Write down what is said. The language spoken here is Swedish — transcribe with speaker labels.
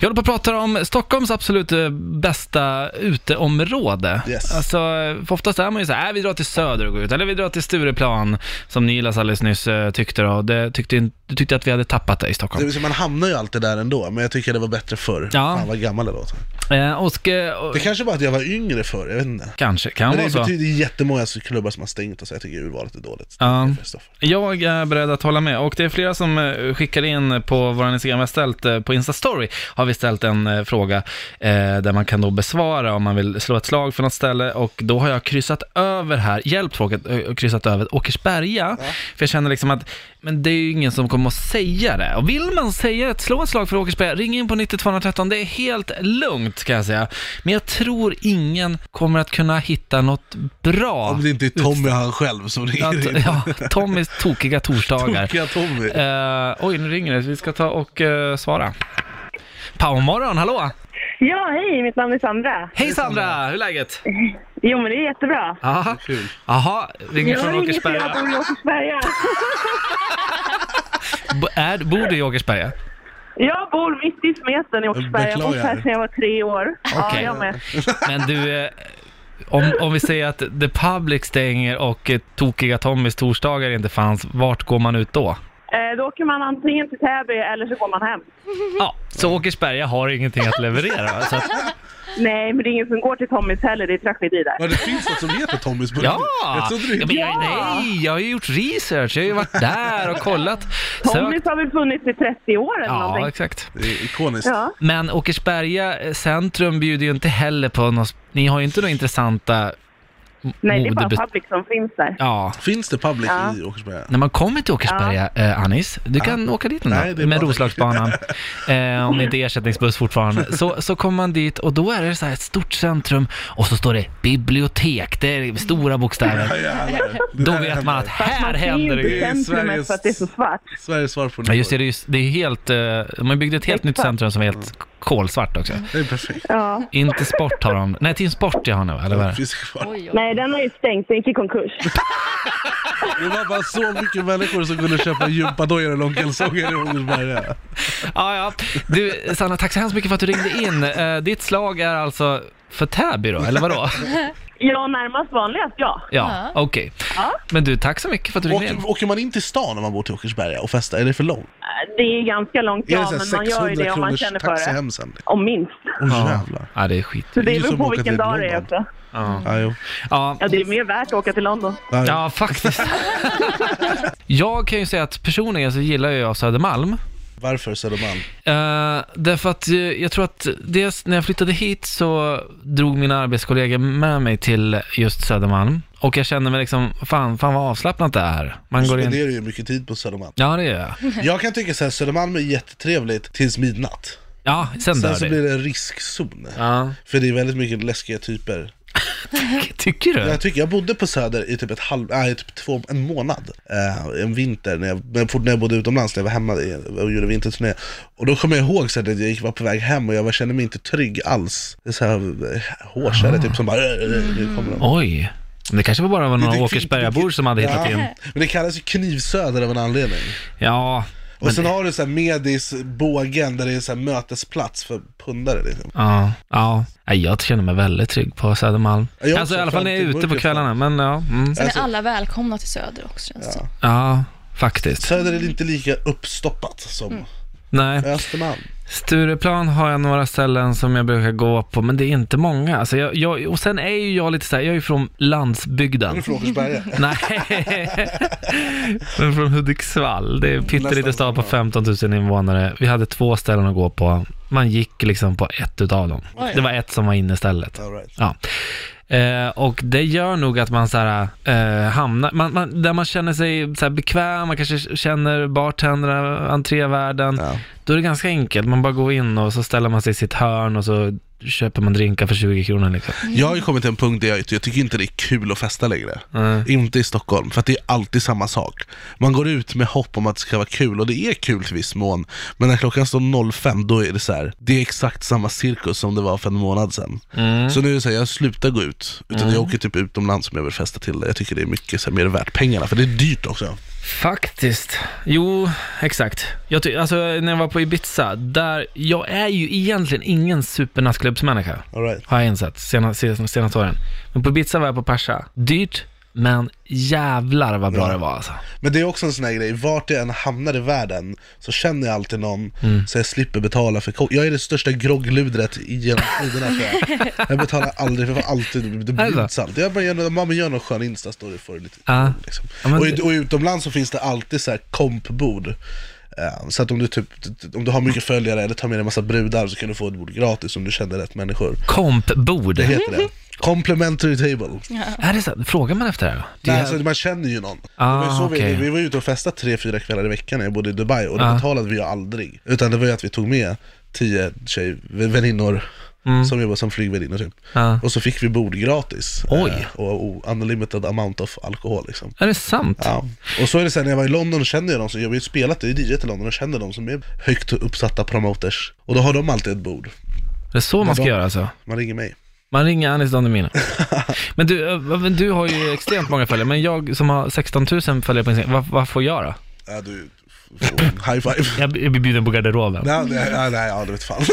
Speaker 1: Jag håller på att prata om Stockholms absolut eh, bästa uteområde.
Speaker 2: Yes.
Speaker 1: Alltså, eh, för oftast är man ju så här, "Äh, vi drar till Söder och går ut, eller vi drar till Stureplan, som Nilas alldeles nyss eh, tyckte då. Det tyckte, in- du tyckte att vi hade tappat det i
Speaker 2: Det
Speaker 1: Stockholm.
Speaker 2: vill säga, man hamnar ju alltid där ändå, men jag tycker det var bättre förr.
Speaker 1: Ja.
Speaker 2: Fan vad gammal jag låter.
Speaker 1: Eh, och, eh, och,
Speaker 2: Det kanske bara att jag var yngre förr, jag vet inte.
Speaker 1: kanske, kan
Speaker 2: Men
Speaker 1: vara
Speaker 2: det
Speaker 1: så.
Speaker 2: betyder jättemånga klubbar som har stängt och så jag tycker urvalet är dåligt.
Speaker 1: Ja.
Speaker 2: Kristoffer.
Speaker 1: Jag är beredd att hålla med och det är flera som eh, skickar in på vår Instagram, vi har ställt eh, på Instastory, har vi ställt en eh, fråga eh, där man kan då besvara om man vill slå ett slag för något ställe och då har jag kryssat över här, hjälpt tråkigt, eh, och kryssat över Åkersberga, för jag känner liksom att men det är ju ingen som kommer att säga det. Och vill man säga det, slå ett slag för Åkersberga, ring in på 9213, det är helt lugnt kan jag säga. Men jag tror ingen kommer att kunna hitta något bra.
Speaker 2: Om det inte är Tommy han själv som ringer in.
Speaker 1: Att, ja, Tommys tokiga torsdagar.
Speaker 2: Tokiga Tommy.
Speaker 1: Eh, oj, nu ringer det. Vi ska ta och eh, svara. Powermorgon, hallå!
Speaker 3: Ja, hej, mitt namn är Sandra.
Speaker 1: Hej Sandra, hur är läget?
Speaker 3: Jo, men det är jättebra.
Speaker 1: Aha.
Speaker 2: Kul.
Speaker 1: Jaha, ringer
Speaker 3: Jag
Speaker 1: från
Speaker 3: har inget fel att
Speaker 1: Åkersberga.
Speaker 3: bo i Åkersberga.
Speaker 1: B- är, bor du i Åkersberga?
Speaker 3: Jag bor mitt i smeten i Åkersberga. Jag har bott här
Speaker 2: Beklagar.
Speaker 3: sedan jag var tre år. Ja,
Speaker 1: Okej.
Speaker 3: jag med.
Speaker 1: Men du, eh, om, om vi säger att The Public stänger och eh, tokiga Tommys torsdagar inte fanns, vart går man ut då?
Speaker 3: Eh, då åker man antingen till Täby eller så går man hem.
Speaker 1: Ja, så Åkersberga har ingenting att leverera. Så att,
Speaker 3: Nej, men det är ingen som går till Tommys heller. Det är tragedi där.
Speaker 2: Ja, det finns något som heter Tommys på
Speaker 1: Ja!
Speaker 2: riktigt. Jag trodde
Speaker 1: ja,
Speaker 2: inte-
Speaker 1: men jag, nej, jag har ju gjort research, jag har ju varit där och kollat. sökt.
Speaker 3: Tommys har väl funnits i 30 år eller
Speaker 1: Ja,
Speaker 3: någonting.
Speaker 1: exakt.
Speaker 2: Det är ikoniskt.
Speaker 3: Ja.
Speaker 1: Men Åkersberga eh, centrum bjuder ju inte heller på något, ni har ju inte några intressanta m-
Speaker 3: Nej, det är bara
Speaker 1: modebes-
Speaker 3: public som finns där.
Speaker 1: Ja,
Speaker 2: Finns det public
Speaker 3: Ja.
Speaker 2: i Åkersberga?
Speaker 1: när man kommer till Åkersberga, eh, Anis, du kan åka dit
Speaker 2: Nej,
Speaker 1: nu
Speaker 2: det
Speaker 1: då,
Speaker 2: är
Speaker 1: med
Speaker 2: bara-
Speaker 1: Roslagsbanan, eh, om det inte är ersättningsbuss fortfarande, så, så kommer man dit och då är det så här ett stort centrum och så står det bibliotek, det är stora bokstäver.
Speaker 2: jävlar.
Speaker 1: Då
Speaker 2: där
Speaker 1: vet man
Speaker 2: händer.
Speaker 1: att här
Speaker 3: man ser ju
Speaker 1: händer det
Speaker 3: inte
Speaker 1: ju.
Speaker 2: Det är
Speaker 3: centrumet
Speaker 2: Sveriges-
Speaker 3: för att det är så svart.
Speaker 2: Sveriges svar på
Speaker 1: Ja just det, det är, ju- det är helt, eh, de har byggt ett helt nytt
Speaker 3: Exakt.
Speaker 1: centrum som är helt kolsvart också.
Speaker 2: Det är perfekt.
Speaker 3: Ja.
Speaker 1: Inte sport har de, nej Team Sport jag har nu, eller vad är
Speaker 2: Det
Speaker 1: det?
Speaker 2: finns kvar.
Speaker 4: Oj, oj.
Speaker 3: Nej, den har ju stängt. Den gick i konkurs.
Speaker 2: Det var bara så mycket människor som kunde köpa gympadojor och långkalsonger i Åkersberga.
Speaker 1: Ja, ja. Du, Sanna, tack så hemskt mycket för att du ringde in. Eh, ditt slag är alltså för Täby då, eller vadå?
Speaker 3: Ja, närmast vanligast, ja.
Speaker 1: Ja, okej. Men du, tack så mycket för att du ringde in.
Speaker 2: Åker, åker man in till stan om man bor till Åkersberga och festar? Är det för långt?
Speaker 3: Det är ganska långt,
Speaker 2: är
Speaker 3: ja,
Speaker 2: det
Speaker 3: men
Speaker 2: så
Speaker 3: man
Speaker 2: här
Speaker 3: gör ju
Speaker 2: 600
Speaker 3: det om man
Speaker 2: kronors
Speaker 3: känner
Speaker 2: taxi
Speaker 3: för det.
Speaker 2: hem sen? liksom?
Speaker 3: Om minst.
Speaker 2: Åh
Speaker 1: Ja.
Speaker 2: jävlar.
Speaker 1: ja, det är skit.
Speaker 3: Så det
Speaker 2: Det är
Speaker 3: beror
Speaker 2: som
Speaker 3: på
Speaker 2: att åka
Speaker 3: vilken
Speaker 2: till
Speaker 3: dag det är
Speaker 2: London.
Speaker 3: också.
Speaker 2: Ja, jo.
Speaker 1: Ja,
Speaker 3: Ja, det är mer värt att åka till London.
Speaker 2: Ja, jo.
Speaker 1: ja faktiskt. Jag kan ju säga att personligen så gillar jag Södermalm.
Speaker 2: Varför Södermalm?
Speaker 1: Eh, därför att eh, jag tror att dels när jag flyttade hit så drog mina arbetskollegor med mig till just Södermalm. Och jag kände mig liksom, fan, fan vad avslappnat Alltså, det är. Man
Speaker 2: Du
Speaker 1: går in...
Speaker 2: spenderar ju mycket tid på Södermalm.
Speaker 1: Ja, det gör jag.
Speaker 2: Jag kan tycka såhär, Södermalm är jättetrevligt tills midnatt.
Speaker 1: Ja, sen
Speaker 2: Sen
Speaker 1: dör
Speaker 2: så
Speaker 1: det.
Speaker 2: blir det en riskzon.
Speaker 1: Ja.
Speaker 2: För det är väldigt mycket läskiga typer.
Speaker 1: Tycker du?
Speaker 2: Jag tycker jag bodde på Söder i typ, ett halv, nej, i typ två, en månad. Eh, en vinter, när jag, men fort när jag bodde utomlands, när jag var hemma i, och gjorde vinterturné. Och då kommer jag ihåg så här, att jag gick, var på väg hem och jag var, kände mig inte trygg alls. Det är så här, eh, hårkärror typ som bara, "Äh, äh, äh, nu kommer de.
Speaker 1: Oj. Men det kanske var bara var
Speaker 2: Det
Speaker 1: några
Speaker 2: är
Speaker 1: Åkersbergabor som hade hittat in.
Speaker 2: Men det kallas ju knivsöder av en anledning.
Speaker 1: Ja.
Speaker 2: Och sen har du så här Medis, bågen, där det är så här mötesplats för pundare. Liksom.
Speaker 1: Ja, ja. Nej, Jag känner mig väldigt trygg på Södermalm.
Speaker 2: Ja, jag
Speaker 1: Alltså i
Speaker 2: också,
Speaker 1: alla fall
Speaker 2: fram
Speaker 1: när jag är
Speaker 2: till
Speaker 1: ute på
Speaker 2: Bunkeflo.
Speaker 1: kvällarna, men ja. Mm.
Speaker 4: Sen
Speaker 2: Alltså-
Speaker 4: är alla välkomna till Söder också känns det som.
Speaker 1: Ja, faktiskt.
Speaker 2: Söder är inte lika uppstoppat som
Speaker 1: Nej.
Speaker 2: Östermalm.
Speaker 1: Stureplan har jag några ställen som jag brukar gå på, men det är inte många. Alltså jag, jag, och sen är ju jag lite så här, jag är ju från
Speaker 2: Nu
Speaker 1: landsbygden.
Speaker 2: från Åkersberga.
Speaker 1: Nej, men från Hudiksvall. Det är en pytteliten
Speaker 2: Mm, Nästan.
Speaker 1: stad på 15 000 invånare. Vi hade två ställen att gå på. Man gick liksom på ett utav dem.
Speaker 4: Oj.
Speaker 1: Det var ett som var inne stället.
Speaker 2: All right.
Speaker 1: Ja. Eh, och det gör nog att man så här, eh, hamnar, man, man, där man känner sig så här bekväm, man kanske känner bartendrarna, entrévärden.
Speaker 2: Ja.
Speaker 1: Då är det ganska enkelt, man bara går in och så ställer man sig i sitt hörn och så köper man drinkar för 20 kronor liksom.
Speaker 2: Jag har ju kommit till en punkt där jag, jag tycker inte det är kul att festa längre.
Speaker 1: Nej.
Speaker 2: Inte i Stockholm, för att det är alltid samma sak. Man går ut med hopp om att det ska vara kul, och det är kul till viss mån. Men när klockan står 05, då är det så här. det är exakt samma cirkus som det var för en månad sedan. Så nu är det så här, jag slutar gå ut, utan jag åker typ utomlands om jag vill festa till det. Jag tycker det är mycket så här, mer värt pengarna, för det är dyrt också.
Speaker 1: Faktiskt. Jo, exakt. Jag ty- alltså, när jag var på Ibiza, där, jag är ju egentligen ingen supernattklubbsmänniska.
Speaker 2: All right.
Speaker 1: Har jag insett, senaste, senaste åren. Men på Ibiza var jag på Persa. Dyrt, men jävlar vad bra
Speaker 2: Ja.
Speaker 1: det var alltså.
Speaker 2: Men det är också en sån här grej, vart jag än hamnar i världen så känner jag alltid någon
Speaker 1: Mm.
Speaker 2: så jag slipper betala för ko- Jag är det största groggludret genom tiderna tror jag. Jag betalar aldrig, för jag får alltid, det bjuds
Speaker 1: Alltså.
Speaker 2: alltid. Jag bara gör, mamma gör någon skön instastory för lite
Speaker 1: Ja.
Speaker 2: liksom.
Speaker 1: Ja, men
Speaker 2: och, i-
Speaker 1: det-
Speaker 2: och utomlands så finns det alltid så här kompbord. Eh, Så att om du, typ, om du har mycket följare eller tar med dig massa brudar så kan du få ett bord gratis om du känner rätt människor.
Speaker 1: Kompbord.
Speaker 2: Det heter det.
Speaker 1: Mm-hmm.
Speaker 2: Complimentary table.
Speaker 1: Är det så? Frågar man efter det? här då? Det
Speaker 2: Nej,
Speaker 1: är-
Speaker 2: alltså, man känner ju någon.
Speaker 1: Ah,
Speaker 2: det var ju så
Speaker 1: okej.
Speaker 2: vi, vi var ju ute och festade tre, fyra kvällar i veckan när jag bodde i Dubai och det
Speaker 1: Ah.
Speaker 2: betalade vi ju aldrig. Utan det var ju att vi tog med tio tjej, väninnor
Speaker 1: Mm.
Speaker 2: som jobbar som flygvärdinnor typ.
Speaker 1: Ja.
Speaker 2: Och så fick vi bord gratis.
Speaker 1: Ah. Oj.
Speaker 2: Eh, och, och unlimited amount of alkohol liksom.
Speaker 1: Är det sant?
Speaker 2: Ja. Och så är det sen när jag var i London kände jag de som, jag har ju spelat, jag är DJ i London och känner de som är högt uppsatta promoters. Och då har de alltid ett bord.
Speaker 1: Det är så man ska
Speaker 2: de-
Speaker 1: göra alltså?
Speaker 2: Man ringer mig.
Speaker 1: Man ringer Anis Don Demina. Men du, eh, men du har ju extremt många följare, men jag som har 16 000 följare på Instagram, vad, vad får jag då?
Speaker 2: Ja du, f- f- high five.
Speaker 1: Jag blir bjuden på garderoben.
Speaker 2: Nej, nej, nej, nej, ja det vet fan.